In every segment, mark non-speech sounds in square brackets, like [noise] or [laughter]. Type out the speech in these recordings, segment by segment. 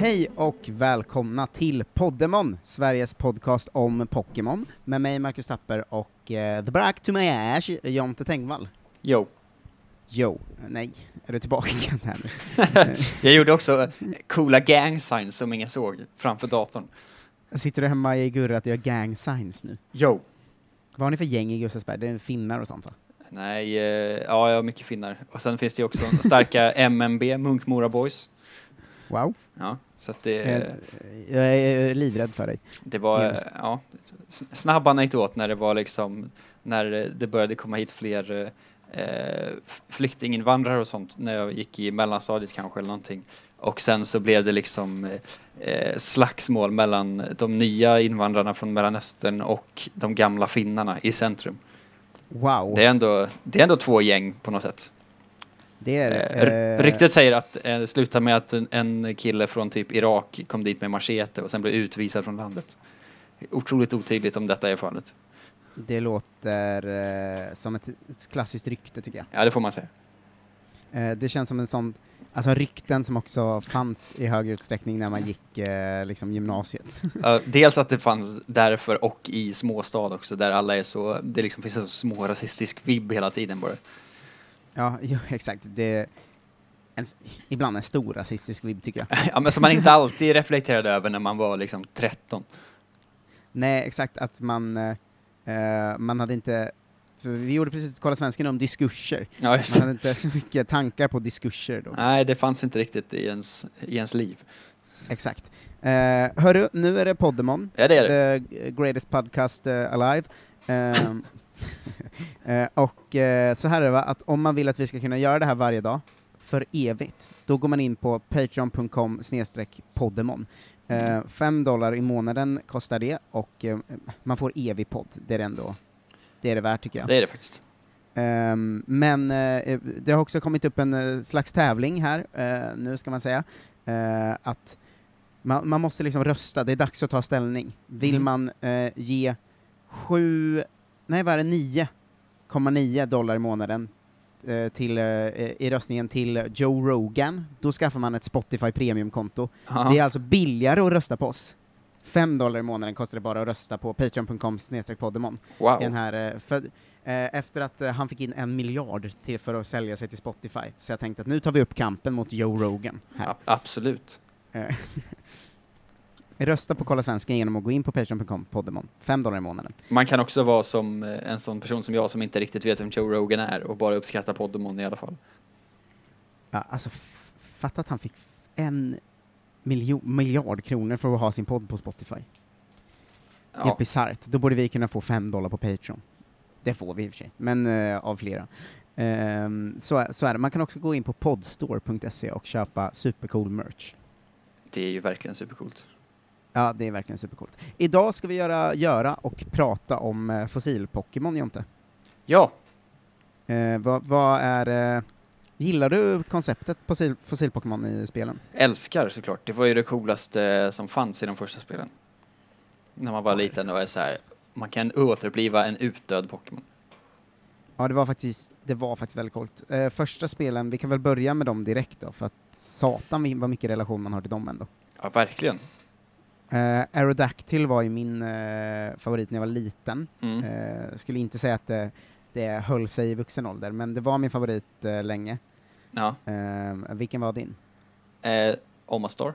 Hej och välkomna till Poddemon, Sveriges podcast om Pokémon, med mig Marcus Tapper och eh, the black to my ash, Jonte Tengvall. Jo. Jo, nej, är du tillbaka igen här nu? Jag gjorde också eh, coola gang signs som ingen såg framför datorn. Sitter du hemma i Gurra och gör gang signs nu? Jo. Vad har ni för gäng i Gustavsberg? Det är finnar och sånt va? Nej, eh, ja, jag har mycket finnar. Och sen finns det ju också starka [laughs] MMB, Munkmora Boys. Wow. Ja, så att det, Eh, Jag är livrädd för dig. det var, eh, just. ja, s- snabb anekdot när det var liksom, när eh, det började komma hit fler eh, eh, f- flyktinginvandrare och sånt när jag gick i mellanstadiet kanske eller någonting. Och sen så blev det liksom eh, eh, slagsmål mellan de nya invandrarna från Mellanöstern och de gamla finnarna i centrum. Wow, Det är ändå, det är ändå två gäng på något sätt. det är Eh, det. r- Ryktet säger att eh, det slutade med att en, en kille från typ Irak kom dit med machete och sen blev utvisad från landet. Otroligt otydligt om detta är fallet. Det låter eh, som ett ett klassiskt rykte tycker jag. Ja, det får man säga. Eh, det känns som en sån, alltså rykten som också fanns i högre utsträckning när man gick eh, liksom gymnasiet. [laughs] Ja, dels att det fanns därför och i småstad också där alla är så, det liksom finns en så små rasistisk vibb hela tiden bara. [laughs] ja, jo, exakt. Det en, s- ibland en stor rasistisk vibb tycker jag. ja, men som man inte alltid reflekterade över när man var liksom 13. Nej, exakt att man, eh, eh, man hade inte, för vi gjorde precis Kolla svensken om diskurser. Ja, just. Man hade inte så mycket tankar på diskurser då. Nej, det fanns inte riktigt i ens, i ens liv. Exakt. Eh, hörru, nu är det Poddemon. Ja, det är det. The greatest podcast eh, alive. Ehm, [laughs] eh, och eh, så här är det va, att om man vill att vi ska kunna göra det här varje dag, för evigt, då går man in på patreon.com snedstreck poddemon. Mm. Eh, fem dollar i månaden kostar det och eh, man får evig podd, det är det ändå. Det är det värt tycker jag. Det är det faktiskt. Ehm, men eh, det har också kommit upp en eh, slags tävling här, eh, nu ska man säga, eh, att man, man måste liksom rösta, det är dags att ta ställning. Vill Mm. man eh, ge sju, nej vad är det, 9,9 dollar i månaden eh, till, eh, i röstningen till Joe Rogan, då skaffar man ett Spotify Premium-konto. Ja. Det är alltså billigare att rösta på oss. 5 dollar i månaden kostar det bara att rösta på patreon.com snedstreck poddemon i den Wow. här, eh, för, eh, efter att eh, han fick in en miljard till för att sälja sig till Spotify, så jag tänkte att nu tar vi upp kampen mot Joe Rogan. Här. A- absolut. Eh, [laughs] Rösta på Kolla Svensken genom att gå in på patreon.com, Poddemon, 5 dollar i månaden. Man kan också vara som eh, en sån person som jag som inte riktigt vet vem Joe Rogan är och bara uppskattar Poddemon i alla fall. Ja, alltså, f- fatta att han fick f- en miljo- miljard kronor för att ha sin podd på Spotify. Ja, Helt bisarrt. Då borde vi kunna få 5 dollar på Patreon. Det får vi i och för sig, men eh, av flera. Ehm, så, är- så är det. Man kan också gå in på podstore.se och köpa supercool merch. det är ju verkligen supercoolt. Ja, det är verkligen supercoolt. Idag ska vi göra, göra och prata om eh, fossil-Pokémon, Jonte. Ja, Eh, vad, vad är... Eh, gillar du konceptet fossil- fossil-Pokémon i spelen? älskar såklart. Det var ju det coolaste eh, som fanns i de första spelen. När man var liten och är så här, man kan återuppliva en utdöd Pokémon. Ja, det var faktiskt, det var faktiskt väldigt coolt. Eh, första spelen, vi kan väl börja med dem direkt då, för att satan vi- vad mycket relation man har till dem ändå. Ja, verkligen. Eh, Aerodactyl var ju min eh, favorit när jag var liten. Mm. Eh, skulle inte säga att det, det höll sig i vuxen ålder, men det var min favorit eh, länge. Ja. Eh, vilken var din? Eh, Omastar?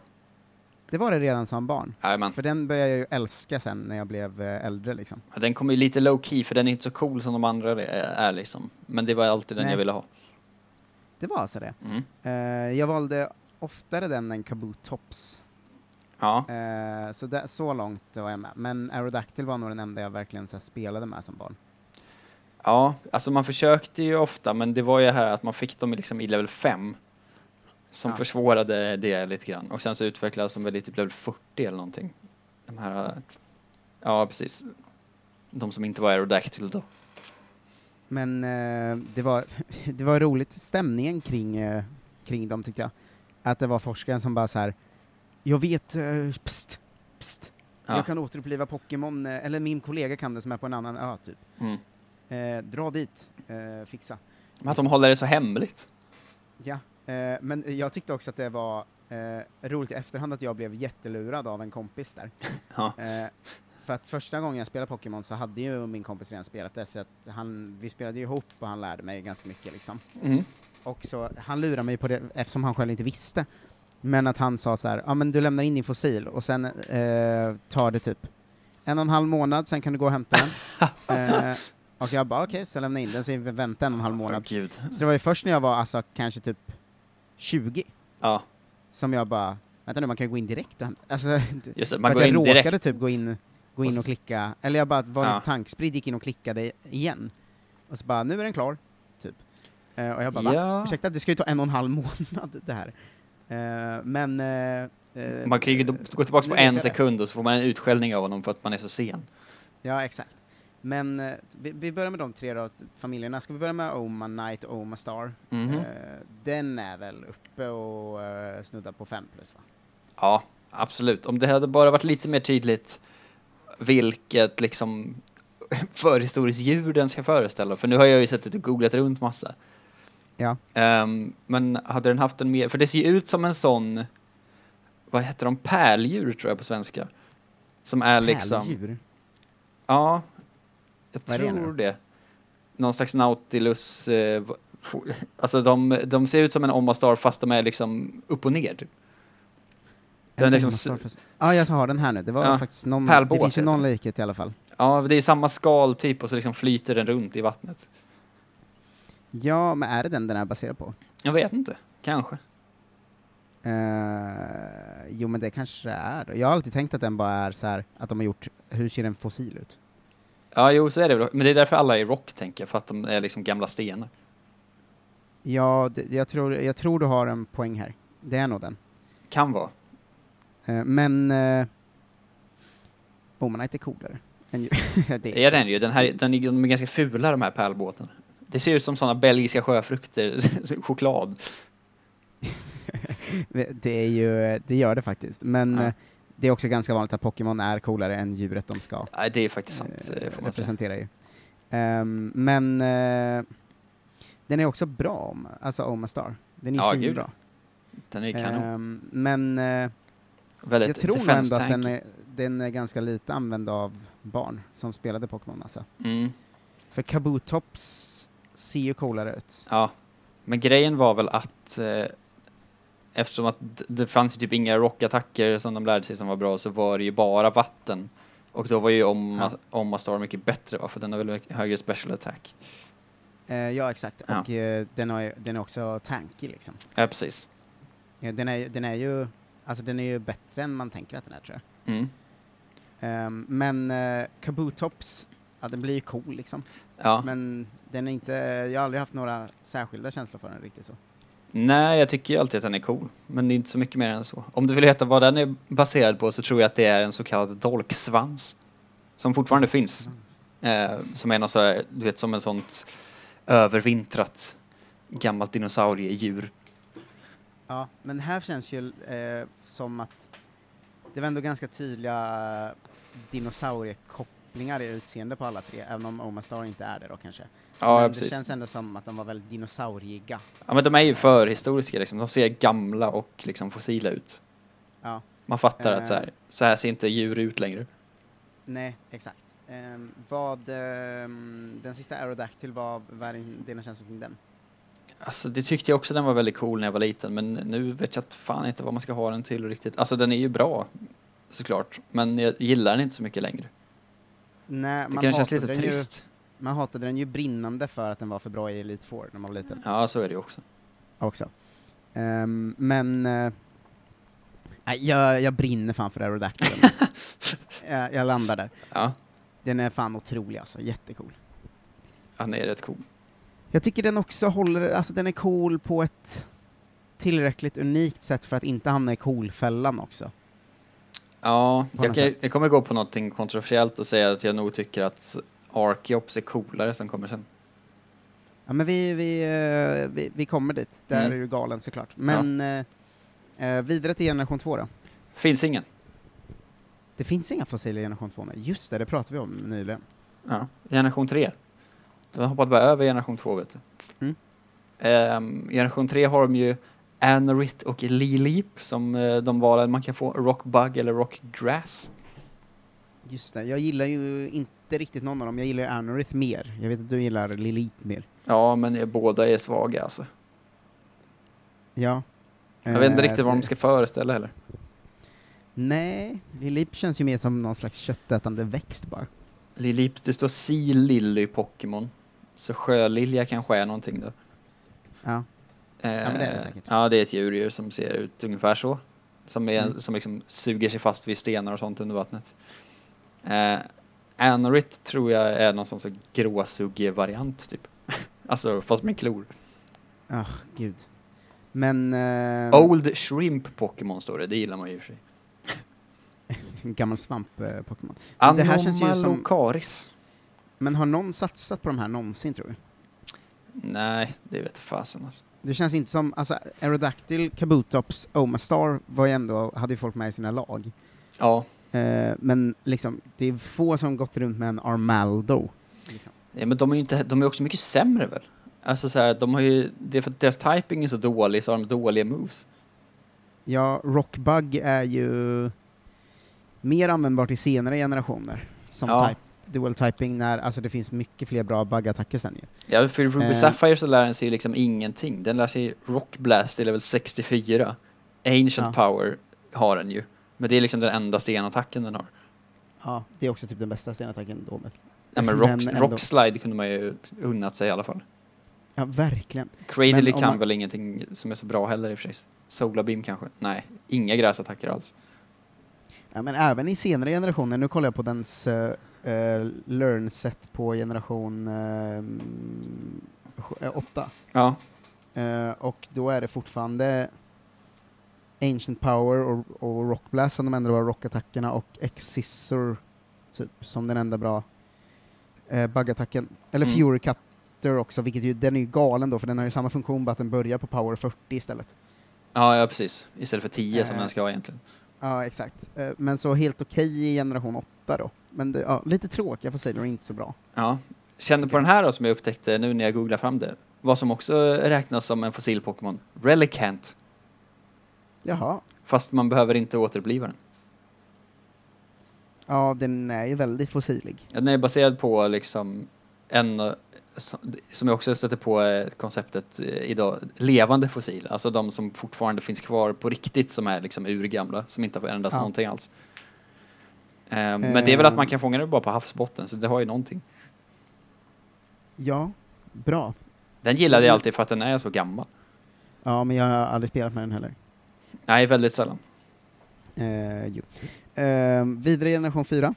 Det var det redan som barn. Jajamän. För den började jag ju älska sen när jag blev eh, äldre liksom. Ja, Den kommer ju lite low key för den är inte så cool som de andra är, är liksom. Men det var alltid den Nej. jag ville ha. Det var alltså det. Mm. Eh, jag valde oftare den än Kabutops. Ja, Eh, så, där, så långt var jag med. Men Aerodactyl var nog den enda jag verkligen så här, spelade med som barn. Ja, alltså man försökte ju ofta, men det var ju här att man fick dem liksom i level 5. Som Ja. försvårade det lite grann. Och sen så utvecklades de väl i typ level 40 eller någonting. De här, äh, ja precis. De som inte var Aerodactyl då. Men eh, det, var, [laughs] det var roligt, stämningen kring, eh, kring dem tyckte jag. Att det var forskaren som bara så här, jag vet, eh, pst, pst, Ja. jag kan återuppliva Pokémon, eh, eller min kollega kan det som är på en annan ö typ. Mm. Eh, dra dit, eh, fixa. Men att de håller det så hemligt. Ja, eh, men jag tyckte också att det var eh, roligt i efterhand att jag blev jättelurad av en kompis där. Ja. Eh, för att första gången jag spelade Pokémon så hade ju min kompis redan spelat det, så att han, vi spelade ju ihop och han lärde mig ganska mycket liksom. Mm. Och så, han lurade mig på det eftersom han själv inte visste. Men att han sa så här, ja men du lämnar in din fossil och sen eh, tar det typ en och en halv månad, sen kan du gå och hämta den. eh, och jag bara okej, så jag lämnar in den, sen vänta en och en halv Åh, månad. gud. Så det var ju först när jag var alltså kanske typ 20 Ja, som jag bara, vänta nu man kan ju gå in direkt och hämta. Alltså, [laughs] just det. för Man att går jag in råkade direkt. typ gå in, gå Och in s- och klicka, eller jag bara var Ja. lite tankspridd, gick in och klickade igen. Och så bara, nu är den klar, typ. Eh, och jag bara, va? Ja. Ursäkta, det ska ju ta en och en halv [laughs] månad det här. Eh, men... eh, eh, Man kan ju då- gå tillbaka nu på vet en jag det. sekund och så får man en utskällning av honom för att man är så sen. Ja, exakt. Men eh, vi, vi börjar med de tre då, familjerna. Ska vi börja med Oma Knight och Oma Star? Mhm. Eh, den är väl uppe och eh, snuddar på fem plus va? Ja, absolut. Om det hade bara varit lite mer tydligt vilket liksom [laughs] förhistoriskt djur den ska föreställa. För nu har jag ju suttit och googlat runt massa. Ja. Ehm, men hade den haft en mer, för det ser ju ut som en sån, vad heter de, pärldjur tror jag på svenska. Som är liksom, Pärldjur? ja, jag Vad är det nu tror det, Någon slags nautilus, eh, v- [laughs] fo- alltså de, de ser ut som en Oma Star fast de är liksom upp och ner. Den En liksom Oma s- Star fast- Ja, jag har den här nu. Det var Ja, typ. faktiskt någon... pärlbåt Det finns ju heter någon den. likhet i alla fall. Ja, det är samma skal typ och så liksom flyter den runt i vattnet. Ja, men är det den den är baserad på? Jag vet inte, kanske. Eh, jo, men det kanske det är. Jag har alltid tänkt att den bara är så här, att de har gjort, hur ser en fossil ut? Ja, jo, så är det väl. Men det är därför alla är rock, tänker jag, för att de är liksom gamla stenar. Ja, det, jag, tror, jag tror du har en poäng här. Det är nog den. Kan vara. Eh, men... Uh, Omanite är coolare. Än ju- [laughs] det, Ja, den är ju. Den här, den är, de är ganska fula, de här pärlbåtarna. Det ser ut som sådana belgiska sjöfrukter, [laughs] choklad. det är ju, det gör det faktiskt. Men Ja. eh, det är också ganska vanligt att Pokémon är coolare än djuret de ska Nej, det är faktiskt sant, eh, eh, får man säga. representera ju. Ehm, men eh, den är också bra, om, alltså Oma Star. Den är Ja, ju gud. svinbra. Den är ju kanon. Ehm, men eh, Väldigt jag tror nog defense ändå att den tanky. är, den är ganska lite använd av barn som spelade Pokémon alltså. Mm, För Kabutops ser ju coolare ut. ja. Men grejen var väl att eh, eftersom att d- det fanns ju typ inga rockattacker som de lärde sig som var bra så var det ju bara vatten. Och då var ju Oma, Oma Star mycket bättre va? För den har väl högre special attack. Eh, ja, exakt. Ja. Och eh, den, har, ju- den är också tanky liksom. Ja, precis. Eh, den, är, ju- den är ju, alltså den är ju bättre än man tänker att den är tror jag. Mm. Ehm, men eh, Kabutops, ja den blir ju cool liksom. Ja. Men den är inte, jag har aldrig haft några särskilda känslor för den riktigt så. Nej, jag tycker ju alltid att den är cool. Men det är inte så mycket mer än så. Om du vill veta vad den är baserad på så tror jag att det är en så kallad dolksvans. Som fortfarande finns. Eh, som är någon så här, du vet, som en sånt övervintrat gammalt dinosauriedjur. Ja, men här känns ju eh, som att det var ändå ganska tydliga dinosauriekopplingar i utseende på alla tre, även om Omastar inte är det då kanske. Ja, men precis. det känns ändå som att de var väldigt dinosauriga. Ja, men de är ju förhistoriska liksom. De ser gamla och liksom fossila ut. Ja, Man fattar Eh. att så här, så här ser inte djur ut längre. nej, exakt. Ehm, vad, ehm, den sista Aerodactyl var, vad är din- dina känslor kring den? Alltså, det tyckte jag också den var väldigt cool när jag var liten, men nu vet jag att fan inte vad man ska ha den till riktigt. Alltså, den är ju bra, såklart, men jag gillar den inte så mycket längre. Nej, Det kan kännas lite den ju, trist. man hatade den ju brinnande för att den var för bra i Elite Four när man var liten. Ja, så är det ju också. också. Ehm, men eh, nej, jag, jag brinner fan för Aerodactyl. [laughs] jag, jag landar där. Ja, Den är fan otrolig alltså, jättecool. han är rätt cool. Jag tycker den också håller, alltså den är cool på ett tillräckligt unikt sätt för att inte hamna i cool-fällan också. Ja, På jag, något kan, sätt. jag kommer gå på någonting kontroversiellt och säga att jag nog tycker att Archeops är coolare som kommer sen. Ja men vi, vi, eh, vi, vi kommer dit, där Mm. är du galen såklart. Men eh, eh, vidare till generation 2 då. Finns ingen. Det finns inga fossila i generation 2 med. Just det, det pratade vi om nyligen. Ja. Generation 3. De har hoppat bara över generation 2, vet du. Mm. Ehm, generation 3 har de ju Anorit och Lilip som eh, de valen man kan få, Rockbug eller Rockgrass. Just det, jag gillar ju inte riktigt någon av dem. Jag gillar ju Anorith mer. Jag vet att du gillar Lilith mer. Ja, men eh, båda är svaga alltså. Ja. Jag vet Eh, inte riktigt vad de det- ska föreställa heller. Nej, Lilith känns ju mer som någon slags köttätande växt bara. Lilip, det står Sea Lily i Pokémon. Så sjölilja kanske är någonting då. Ja. Eh, men det är det säkert. Ja, det är ett djurdjur som ser ut ungefär så. Som, är, Mm. som liksom suger sig fast vid stenar och sånt under vattnet. Eh, Anorit tror jag är någon sån så gråsuggig variant typ. [laughs] alltså fast med klor. Ah, gud. Men... Eh, Old Shrimp Pokémon står det, det gillar man ju i och för sig. [laughs] Gammal eh, svamp-Pokémon. Men det här känns ju som- Anomalocaris. Men har någon satsat på de här någonsin, tror du? Nej, det vet fasen alltså. Det känns inte som, alltså Aerodactyl, Kabutops, Omastar var ju ändå, hade ju folk med i sina lag. Ja, Eh, men liksom, det är få som gått runt med en Armaldo. Liksom. Ja, men de är ju inte, de är också mycket sämre väl? Alltså så här, de har ju, det är för att deras typing är så dålig så har de dåliga moves. Ja, Rockbug är ju mer användbart i senare generationer som Ja. type, dual typing när, alltså det finns mycket fler bra buggattacker sen ju. Ja, för Ruby Eh. Sapphire så lär den sig ju liksom ingenting. Den lär sig Rock Blast i level 64. Ancient Power har den ju. Men det är liksom den enda stenattacken den har. Ja, det är också typ den bästa senattacken då. men- Ja, men Men rock, ändå. rock Slide kunde man ju unnat sig i alla fall. Ja, verkligen. Cradily Men om kan man- väl ingenting som är så bra heller i och för sig. Solabeam kanske? Nej, inga gräsattacker alls. Ja, men även i senare generationer, nu kollar jag på dens eh, eh, learn-set på generation eh, 8, Ja, Eh, och då är det fortfarande Ancient Power och, och Rock Blast som de enda bra rockattackerna och X-Scissor typ, som den enda bra uh, buggattacken. Eller Mm. Fury Cutter också, vilket ju, den är ju galen då, för den har ju samma funktion bara att den börjar på Power 40 istället. ja, ja precis. Istället för 10 som Eh. den ska ha egentligen. Ja, exakt. Eh, Men så helt okej i generation 8 då. Men det, ja, lite tråkiga för sig, de är inte så bra. Ja. Känner på den här då som jag upptäckte nu när jag googlade fram det. Vad som också räknas som en fossil Pokémon. Relicant. Jaha. Fast man behöver inte återbliva den. Ja, den är ju väldigt fossilig. Ja, Den är baserad på liksom en, eh, som- som jag också stötte på eh, konceptet eh, idag, levande fossil. Alltså de som fortfarande finns kvar på riktigt som är liksom urgamla, som inte har förändrats Ja. någonting alls. Eh, Men det är väl att man Eh. kan fånga det bara på havsbotten, så det har ju någonting. Ja, bra. Den gillade jag alltid för att den är så gammal. Ja, men jag har aldrig spelat med den heller. Nej, väldigt sällan. Eh, jo. Eh, vidare generation 4.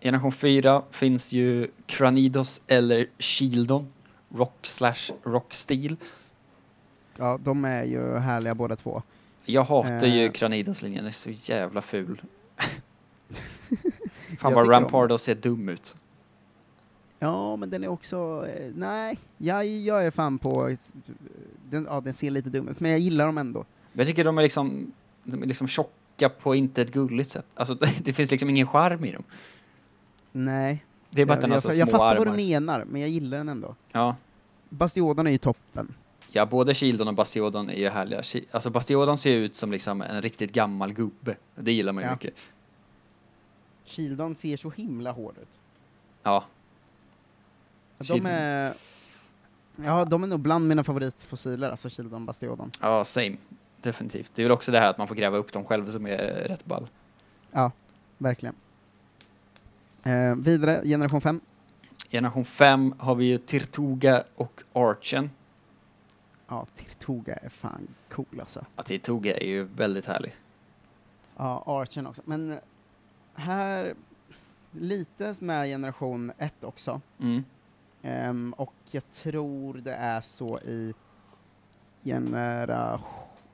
Generation 4 finns ju Cranidos eller Shieldon. Rock slash Rocksteel. Ja, de är ju härliga båda två. Jag hatar ju Eh. Cranidos-linjen, den är så [laughs] jävla ful. tycker Fan om vad den. Rampardos ser dum ut. Ja, men den är också... Eh, nej, jag, jag är fan på... Den, ja, den ser lite dum ut, men jag gillar dem ändå. Men jag tycker de är liksom, de är liksom tjocka på inte ett gulligt sätt. Alltså [laughs] det finns liksom ingen charm i dem. Nej. Det är bara att den jag, har jag, så jag, små fattar armar. vad du menar, men jag gillar den ändå. ja. Bastionen är ju toppen. ja, både Shieldon och Bastiodon är ju härliga. Shi- Alltså Bastiodon ser ju ut som liksom en riktigt gammal gubbe. Det gillar man ju Ja. mycket. Shieldon ser så himla hård ut. Ja, De Shieldon. är... Ja, de är nog bland mina favoritfossiler, alltså Shieldon Bastiodon. Ja, same. Definitivt. Det är väl också det här att man får gräva upp dem själv som är eh, rätt ball. Ja, verkligen. Eh, vidare, generation 5. Generation 5 har vi ju Tirtuga och Archen. Ja, Tirtuga är fan cool alltså. Ja, Tirtuga är ju väldigt härlig. Ja, Archen också. Men eh, här, lite med generation 1 också. Mm. Ehm, och jag tror det är så i generation...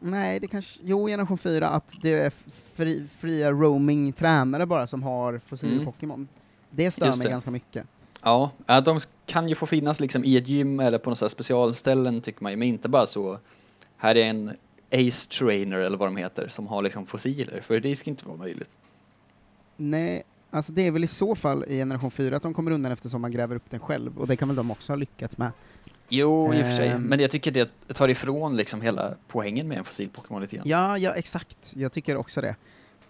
Nej, det kanske... Jo, generation 4, att det är fri, fria roaming-tränare bara som har Mm. fossil-Pokémon. Det stör Just mig det. ganska mycket. Ja, ja, de kan ju få finnas liksom i ett gym eller på några så här specialställen tycker man ju, men inte bara så. Här är en Ace Trainer eller vad de heter som har liksom fossiler, för det ska inte vara möjligt. Nej, Alltså det är väl i så fall i generation 4 att de kommer undan eftersom man gräver upp den själv, och det kan väl de också ha lyckats med. Jo, i och för sig. Ehm. Men jag tycker det tar ifrån liksom hela poängen med en fossil Pokémon lite grann. Ja, ja exakt. Jag tycker också det.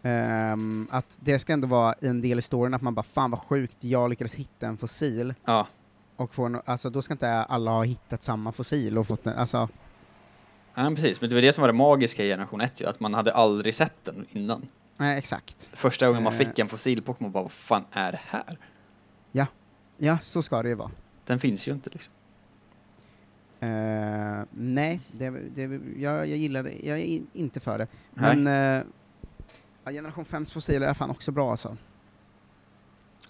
Ehm, att det ska ändå vara en del i storyn att man bara fan vad sjukt, jag lyckades hitta en fossil Ja. och få en, alltså då ska inte alla ha hittat samma fossil och fått den, alltså Ja, men precis. Men det var det som var det magiska i generation 1 ju, att man hade aldrig sett den innan. nej exakt. Första gången man Eh. fick en fossil Pokémon bara, vad fan är det här? Ja, så ska det ju vara. Den finns ju inte liksom. Ehm, nej, det, det, jag, jag gillar det, jag är in, inte för det. Nej. Men eh, ja, generation 5s fossiler är fan också bra alltså.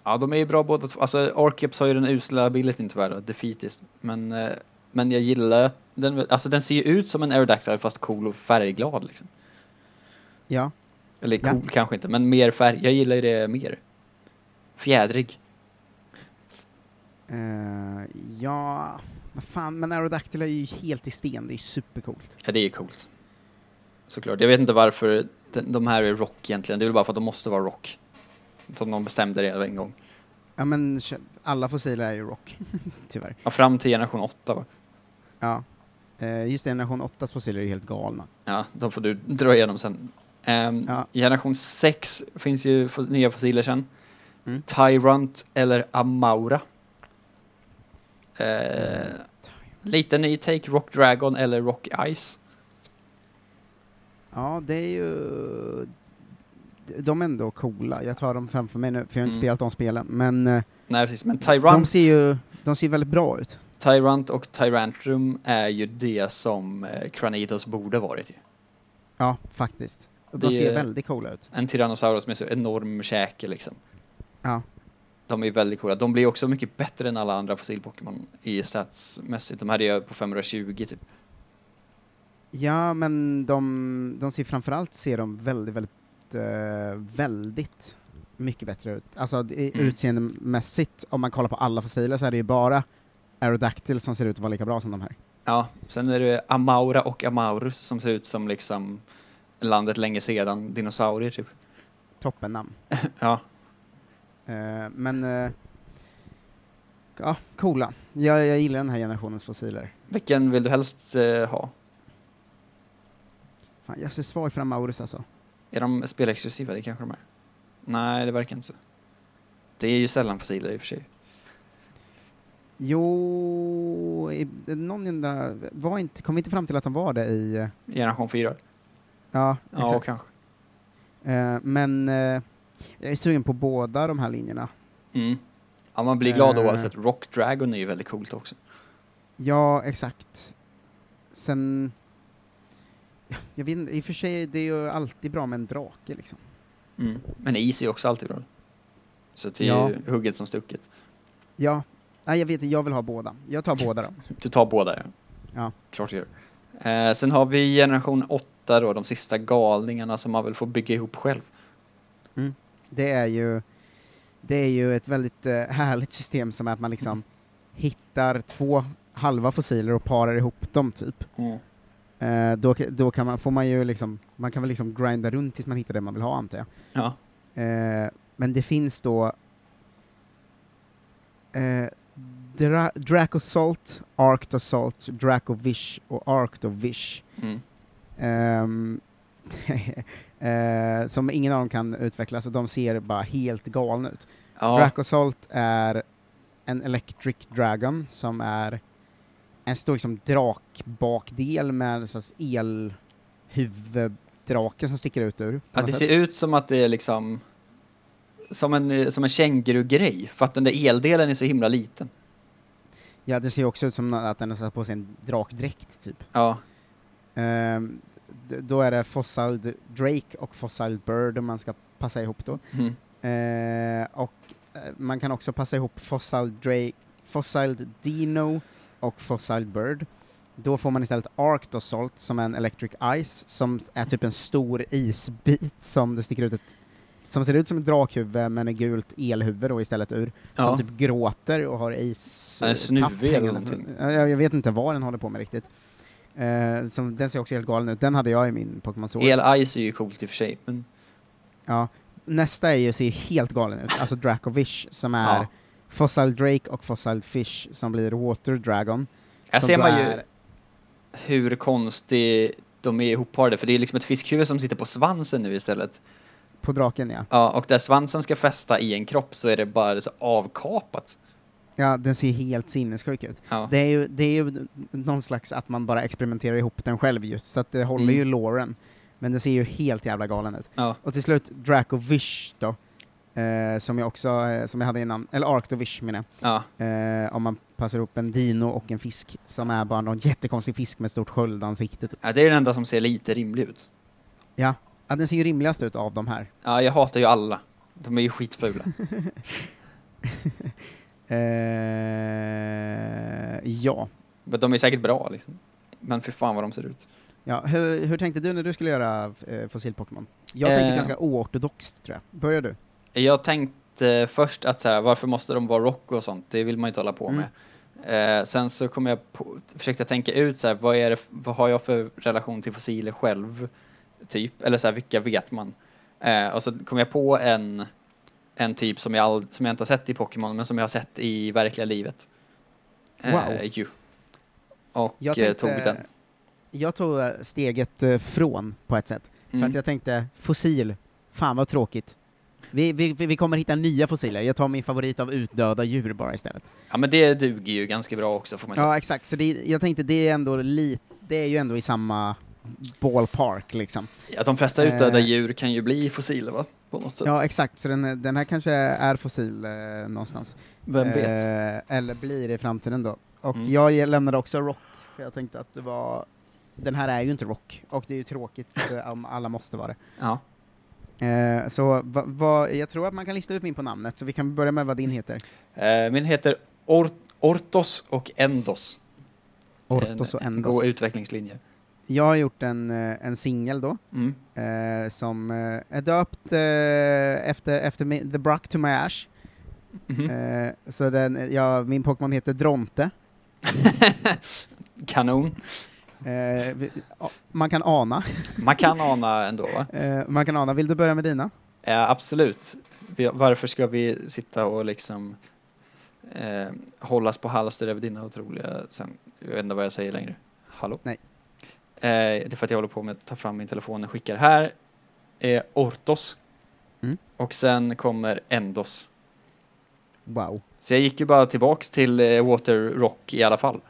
Ja, de är ju bra båda två. Alltså, Arceps har ju den usla abilityn tyvärr, defeatist. Men, eh, men jag gillar att den, alltså den ser ju ut som en Aerodactyl fast cool och färgglad liksom. Ja, Eller Ja. cool kanske inte, men mer färg. Jag gillar ju det mer. Fjädrig. Ehm, ja, vad fan, men Aerodactyl är ju helt i sten, det är ju supercoolt. Ja, det är ju coolt. Såklart. Jag vet inte varför den- de här är rock egentligen. Det är väl bara för att de måste vara rock. Som de bestämde det en gång. Ja men kö- alla fossiler är ju rock, [laughs] tyvärr. Ja, fram till generation 8 va? Ja. Eh, just det, generation 8s fossiler är ju helt galna. Ja, de får du dra igenom sen. Ehm, Ja. i Generation 6 finns ju fos- nya fossiler sen. Mm. Tyrant eller Amaura. Eh, lite ny take, Rock Dragon eller Rock Ice. Ja, det är ju... De är ändå coola, jag tar dem framför mig nu, för jag har inte Mm. spelat de spelen, men eh, Nej precis, men de Tyrant, ser ju de ser väldigt bra ut. Tyrant och Tyrantrum är ju det som eh, Cranidos borde varit ju. Ja, faktiskt. Och de Det ser är- väldigt coola ut. En Tyrannosaurus med så enorm käke liksom. Ja. De är väldigt coola. De blir också mycket bättre än alla andra fossil-Pokémon i statsmässigt. De här är ju på 520 typ. Ja, men de, de ser framförallt ser de väldigt, väldigt, eh, väldigt mycket bättre ut. Alltså det, Mm. utseendemässigt, om man kollar på alla fossiler så är det ju bara Aerodactyl som ser ut att vara lika bra som de här. Ja, sen är det Amaura och Amaurus som ser ut som liksom landet länge sedan, dinosaurier typ. Toppennamn. Ja, Eh, men, eh, ja, coola. Jag, jag gillar den här generationens fossiler. vilken vill du helst eh, ha? Fan, jag ser svag fram Aurus alltså. Är de spelexklusiva? Det kanske de är. Nej, det verkar inte så. Det är ju sällan fossiler i och för sig. Jo, i- någon undrar, var inte, kom vi inte fram till att de var det i, eh, Generation 4? ja, Ja, exakt. kanske. Eh, men eh, jag är sugen på båda de här linjerna. Mm. Ja, man blir glad Eh. oavsett. Rock Dragon är ju väldigt coolt också. Ja, exakt. Sen, ja, jag vet inte, i och för sig, det är ju alltid bra med en drake liksom. Mm. Men is är ju också alltid bra. Så det är Ja. ju hugget som stucket. Ja, nej jag vet inte, jag vill ha båda. Jag tar båda då. Du tar båda ja. Ja. Klart du gör. Eh, sen har vi generation 8 då, de sista galningarna som man väl får bygga ihop själv. Det är ju, det är ju ett väldigt eh, [laughs] härligt system som är att man liksom hittar två halva fossiler och parar ihop dem typ. Eh, då, då kan man, får man ju liksom, man kan väl liksom grinda runt tills man hittar det man vill ha antar jag. Ja. Eh, men det finns då eh, Dra- Dracosalt, Arctosalt, Dracovish och Arctovish. Mm. Ehm, [laughs] eh, som ingen av dem kan utvecklas och de ser bara helt galna ut. Ja, Dracosalt är en Electric Dragon som är en stor liksom, drakbakdel med en sorts elhuvuddrake som sticker ut ur. på ja, något det sätt. ser ut som att det är liksom som en, eh, som en känguru-grej, för att den där eldelen är så himla liten. Ja, det ser också ut som nå- att den har satt på sig en drakdräkt, typ. Ja, Ehm, d- då är det Fossil D- Drake och Fossil Bird om man ska passa ihop då. mm. Ehm, och eh, man kan också passa ihop Fossil Drake, Fossil Dino och Fossil Bird. Då får man istället Arctosalt som är en Electric Ice som är typ en stor isbit som det sticker ut ett som ser ut som ett drakhuvud men är gult elhuvud då istället ur som ja. typ gråter och har is... Den är eh, snuvig tapp eller hängande någonting. från- Ja, Jag, jag vet inte vad den håller på med riktigt. Eh, som, den ser också helt galen ut. Den hade jag i min Pokémon Sword. El Ice är ju coolt i och för sig, men Ja, nästa är ju, ser ju helt galen ut, alltså Dracovish som är Ja. Fossil Drake och Fossil Fish som blir Water Dragon. Här som ser då man ju är- hur konstig de är ihopparade, för det är liksom ett fiskhuvud som sitter på svansen nu istället. På draken ja. Ja, och där svansen ska fästa i en kropp så är det bara så avkapat. Ja, den ser helt sinnessjuk ut. Ja. Det är, ju, det är ju någon slags att man bara experimenterar ihop den själv just, så att det håller Mm. ju loren. Men den ser ju helt jävla galen ut. Ja. Och till slut Dracovish då, eh, som jag också, eh, som jag hade innan, eller Arctovish menar jag. Ja. Eh, om man passar ihop en dino och en fisk, som är bara någon jättekonstig fisk med stort sköldansikte. typ. ja, det är den enda som ser lite rimlig ut. Ja, den ser ju rimligast ut av de här. Ja, jag hatar ju alla. De är ju skitfula. Eh, ja. Men de är säkert bra liksom. Men för fan vad de ser ut. ja. Hur, hur tänkte du när du skulle göra eh, fossil-Pokémon? Jag tänkte Eh. ganska oortodoxt, tror jag. Börjar du? Jag tänkte först att så här, varför måste de vara rock och sånt? Det vill man ju inte hålla på Mm. med. Eh, sen så kom jag på, försökte jag tänka ut så här, vad, är det, vad har jag för relation till fossiler själv? Typ, eller så här, vilka vet man? Eh, och så kom jag på en, en typ som jag, all, som jag inte har sett i Pokémon, men som jag har sett i verkliga livet. Eh, Wow. ju. Och Jag eh, tog den. Jag tog eh, steget eh, från, på ett sätt. För Mm. att jag tänkte, fossil, fan vad tråkigt. Vi, vi, vi vi kommer hitta nya fossiler, jag tar min favorit av utdöda djur bara istället. Ja men det duger ju ganska bra också får man säga. Ja, exakt. Så det, jag tänkte, det är, ändå li, det är ju ändå i samma ballpark, liksom. Att de flesta utdöda Eh. djur kan ju bli fossiler va? På något sätt. Ja, exakt. Så den, den här kanske är fossil eh, någonstans. Vem vet? Eh, eller blir det i framtiden då. Och Mm. jag lämnade också rock, för jag tänkte att det var... Den här är ju inte rock, och det är ju tråkigt eh, om alla måste vara det. Ja. Eh, så va, va, jag tror att man kan lista ut min på namnet, så vi kan börja med vad din heter. Eh, Min heter Or- Ortos och Endos. Ortos Eh, och Endos. Gå utvecklingslinje. Jag har gjort en, eh, en singel då, Mm. eh, som eh, är döpt eh, efter, efter mi- The Brock to My Ash. Mhm. Eh, så den, ja, min Pokémon heter Dronte. Kanon. Eh, vi, a- man kan ana. Man kan ana ändå va? Eh, man kan ana. Vill du börja med dina? Eh, absolut. Vi, varför ska vi sitta och liksom eh, hållas på halster över dina otroliga... Sen, jag vet inte vad jag säger längre. Hallå? Nej. Eh, det är för att jag håller på med att ta fram min telefon och skickar här. Eh, Ortos. Mm. Och sen kommer Endos. Wow. Så jag gick ju bara tillbaks till eh, Water Rock i alla fall.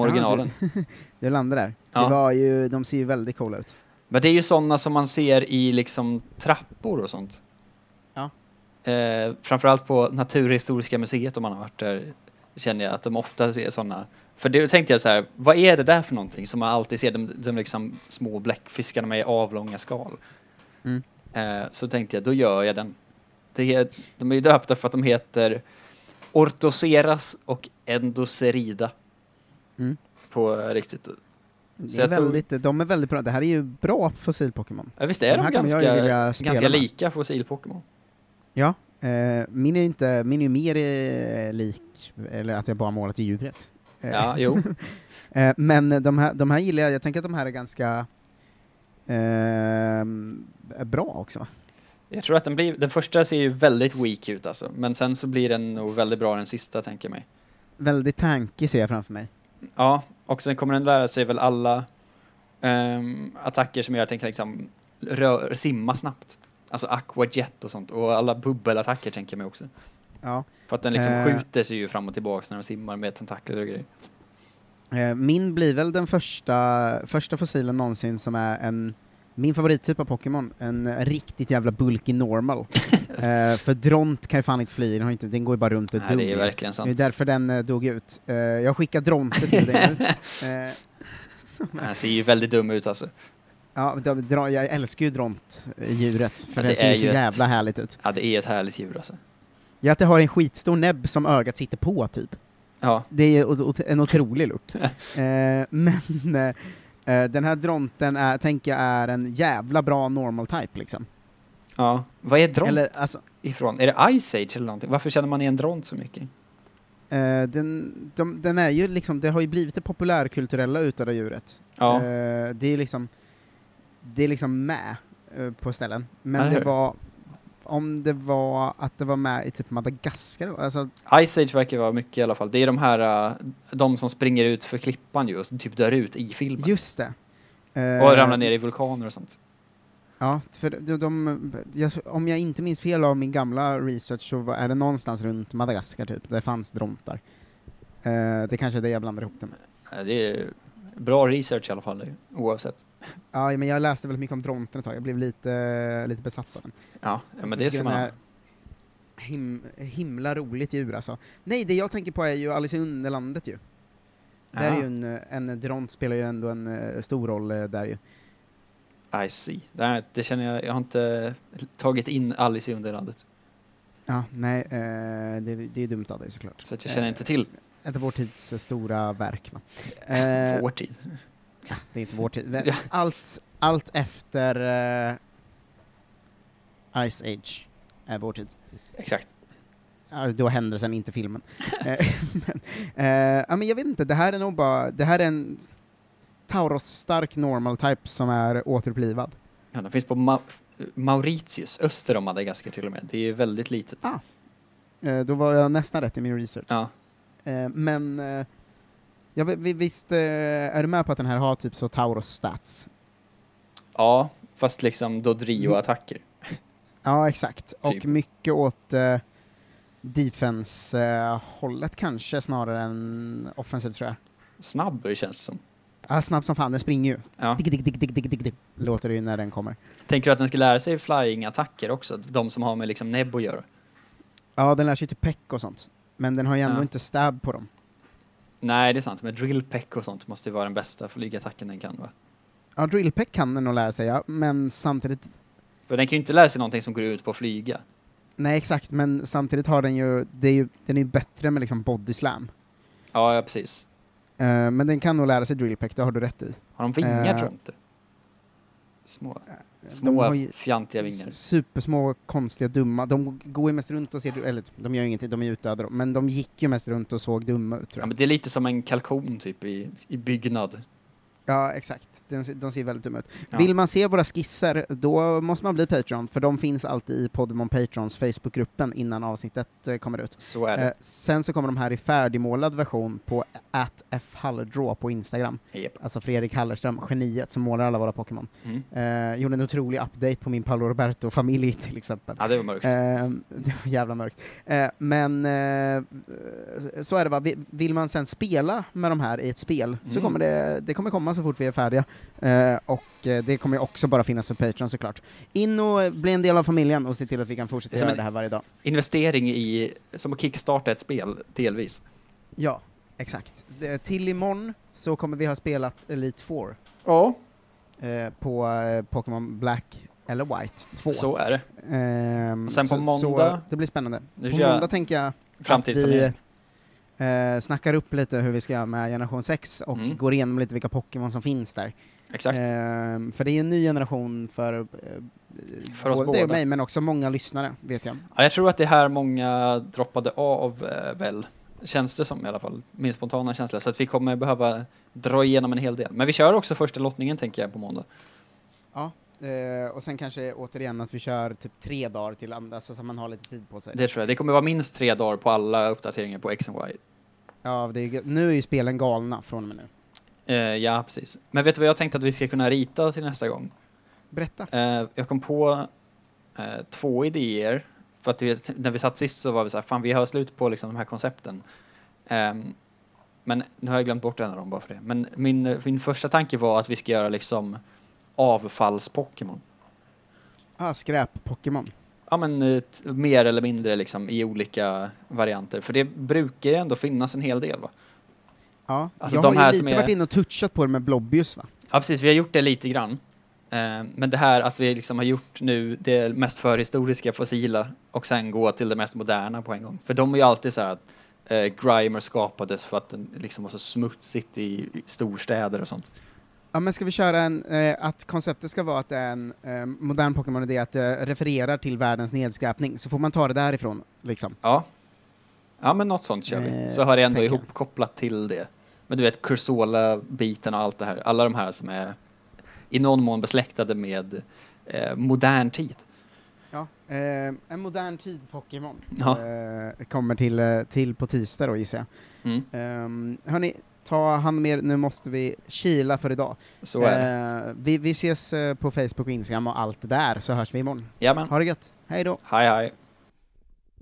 [laughs] originalen. Ja, du, du landade där. Ja. Det var ju, de ser ju väldigt coola ut. Men det är ju sådana som man ser i liksom trappor och sånt. Ja. Eh, framförallt på Naturhistoriska museet om man har varit där känner jag att de ofta ser sådana. För det tänkte jag så här, vad är det där för någonting som man alltid ser? De, de liksom små bläckfiskarna med avlånga skal. Mm. Eh, så tänkte jag, då gör jag den. Det är, de är ju döpta för att de heter Orthoceras och Endocerida. Mm. På eh, riktigt. Det Så är jag tog- väldigt, de är väldigt bra. Det här är ju bra fossil-Pokémon. Ja, visst är Den de här kommer jag ganska, ju vilja spela ganska med. lika fossil-Pokémon? Ja. Eh, min är ju inte, min är ju mer eh, lik, eller att jag bara målat i djuret. Eh, Ja, jo. [laughs] eh, men de här, de här gillar jag, jag tänker att de här är ganska ehm, bra också. Jag tror att den blir, den första ser ju väldigt weak ut alltså, men sen så blir den nog väldigt bra den sista tänker jag mig. Väldigt tankig ser jag framför mig. Ja, och sen kommer den lära sig väl alla ehm, attacker som gör att den kan liksom rö- simma snabbt. Alltså aqua jet och sånt, och alla bubbelattacker tänker jag mig också. Ja. För att den liksom Eh. skjuter sig ju fram och tillbaka när den simmar med tentakler och grejer. Eh, Min blir väl den första, första fossilen någonsin som är en, min favorittyp av Pokémon, en riktigt jävla bulky normal. [laughs] eh, för Dront kan ju fan inte fly, den, har inte, den går ju bara runt och Nej, det är dugg. verkligen Det är sant. därför den eh, dog ut. Eh, jag skickar Dronte till [laughs] dig nu. Eh, Den ser ju väldigt dum ut alltså. ja, d- dra- jag älskar ju Dront, eh, djuret, för Ja, det, det ser är ju ju så ett- jävla härligt ut. Ja, det är ett härligt djur alltså. Ja, att det har en skitstor näbb som ögat sitter på, typ. Ja, Det är ju o- o- en otrolig look. [laughs] eh, men eh, eh, den här Dronten är, tänker jag är en jävla bra normal type, liksom. ja. Vad är dront Eller, alltså, ifrån? Är det Ice Age eller någonting? Varför känner man igen dront så mycket? eh, den, de, den är ju liksom, det har ju blivit det populärkulturella utdöda djuret. Ja. Eh, det är liksom, det är liksom med eh, på ställen. Men Eller det hur? var, om det var att det var med i typ Madagaskar. Alltså, Eh, Ice Age verkar vara mycket i alla fall. Det är de här, eh, de som springer ut för klippan ju och typ dör ut i filmen. just det. Och Eh, ramlar ner i vulkaner och sånt. Ja, för de, de, jag, om jag inte minns fel av min gamla research så var, är det någonstans runt Madagaskar typ, där fanns drontar. Eh, det kanske är det jag blandar ihop det med. Eh, Det är bra research i alla fall oavsett. Ja, men jag läste väldigt mycket om dronten ett tag, jag blev lite, lite besatt av den. Ja, ja men Jag det tycker ska den man... är Him, himla roligt djur alltså. Nej, det jag tänker på är ju Alice i Underlandet ju. Där är Aha, ju en, en dront spelar ju ändå en eh, stor roll eh, där ju. I see. Det, här, det känner jag, jag har inte tagit in Alice i Underlandet. Ja, nej, eh, det, det är ju dumt av dig såklart. Så att jag känner Eh, inte till Inte vår tids eh, stora verk va? Eh, [laughs] vår tid. [laughs] Det är inte vår tid. Ja. Allt, allt efter eh, Ice Age är vår tid. Exakt. Ja, Då händer sen inte [laughs] filmen. Eh, [laughs] men, eh, ja, men jag vet inte, det här är nog bara, det här är en Tauros-stark normal type som är återupplivad. Ja, de finns på Ma Mauritius, öster om Madagaskar till och med. Det är väldigt litet. Ah. Eh, då var jag nästan rätt i min research. Ja. Eh, men eh, jag vet- vi- visst eh, är du med på att den här har typ så Tauros-stats? ja, fast liksom Dodrio-attacker. Ja, exakt. Typ. Och mycket åt eh, defense-hållet kanske snarare än offensivt tror jag. Snabb känns det som. Ja, snabb som fan, den springer ju. Ja. Dick, dick, dick, dick, dick, dick, dick, låter det ju när den kommer. Tänker du att den ska lära sig flying-attacker också? De som har med liksom näbb att göra? Ja, den lär sig typ peck och sånt. Men den har ju ändå Ja. inte stab på dem. Nej, det är sant. Men drill peck och sånt måste ju vara den bästa flygattacken den kan va? Ja, drillpeck kan den nog lära sig, ja. Men samtidigt... För den kan ju inte lära sig någonting som går ut på att flyga. Nej, exakt, men samtidigt har den ju... Det är ju den är ju bättre med liksom body slam. Ja, ja precis. Eh, men den kan nog lära sig drillpeck, det har du rätt i. Har de vingar Eh, tror jag inte? Små, de små har ju fjantiga vingar. s- supersmå, konstiga, dumma. De går ju mest runt och ser... du- Eller typ, de gör ju ingenting, de är ju utdöda. Men de gick ju mest runt och såg dumma ut, tror jag. Ja, men det är lite som en kalkon typ i, i byggnad. Ja, exakt. Den, se- de ser väldigt dumma ut. Ja. Vill man se våra skisser, då måste man bli Patreon, för de finns alltid i Podemon Patrons Facebookgruppen innan avsnittet eh, kommer ut. Så är Eh, det. sen så kommer de här i färdigmålad version på @fhallerdraw på Instagram. Japp. Alltså Fredrik Hallerström, geniet som målar alla våra Pokémon. Mm. Eh, gjorde en otrolig update på min Paolo Roberto-familj [laughs] till exempel. Ja, det var mörkt. Eh, [laughs] det var jävla mörkt. Eh, men eh, så är det va. Vi- Vill man sen spela med de här i ett spel så Mm. kommer det, det kommer komma så fort vi är färdiga. Eh, och eh, det kommer ju också bara finnas för Patreon såklart. In och bli en del av familjen och se till att vi kan fortsätta Det är som göra en- det här varje dag. Investering i, som att kickstarta ett spel, delvis. Ja, exakt. Det, till imorgon så kommer vi ha spelat Elite Four Ja, eh, på eh, Pokémon Black eller White 2. så är det. Ehm, Och sen på Så måndag- det blir spännande. Nu På kör jag måndag tänker jag Framtidsplanering. eh, snackar upp lite hur vi ska göra med generation 6 och Mm. går igenom lite vilka Pokémon som finns där. Exakt. Ehm, för det är ju en ny generation för, eh, För oss både dig och båda. mig, men också många lyssnare, vet jag. Ja, jag tror att det är här många droppade av eh, väl, känns det som i alla fall. Min spontana känsla. Så att vi kommer behöva dra igenom en hel del. Men vi kör också första lottningen tänker jag på måndag. Ja. eh, och sen kanske återigen att vi kör typ tre dagar till andra, så, så man har lite tid på sig. Det tror jag. Det kommer vara minst tre dagar på alla uppdateringar på X och Y. Ja, det är, ju- nu är ju spelen galna från och med nu. Eh, ja, precis. Men vet du vad jag tänkte att vi ska kunna rita till nästa gång? Berätta. Eh, jag kom på eh, två idéer. För att vi, när vi satt sist så var vi så här, fan vi har slut på liksom de här koncepten. Ehm, men nu har jag glömt bort en av dem bara för det. Men min, eh, min första tanke var att vi ska göra liksom avfalls-Pokémon. Ah, skräp-Pokémon. Ja men eh, t- mer eller mindre liksom i olika varianter. För det brukar ju ändå finnas en hel del va? Ja, Alltså, jag de har här ju som lite är- varit inne och touchat på det med Blobbius va? Ja, precis. Vi har gjort det lite grann. Eh, Men det här att vi liksom har gjort nu det mest förhistoriska fossila och sen gå till det mest moderna på en gång. För de är ju alltid så här att eh, Grimer skapades för att den liksom var så smutsigt i i storstäder och sånt. Ja, men ska vi köra en, eh, att konceptet ska vara att det är en eh, modern Pokémon-idé att det refererar till världens nedskräpning, så får man ta det därifrån, liksom. Ja. Ja, men något sånt kör vi. Eh, Så har det ändå tänker jag. ihopkopplat till det. Men du vet, Cursola-biten och allt det här. Alla de här som är i någon mån besläktade med eh, modern tid. Ja, eh, en modern tid Pokémon Ja. eh, kommer till, eh, till på tisdag då gissar jag. Mm. Um, hörni, ta hand om er, nu måste vi kila för idag. Så är det. Eh, vi, vi ses eh, på Facebook och Instagram och allt det där, så hörs vi imorgon. Jajamän. Ha det gött, hej då! Hej hej.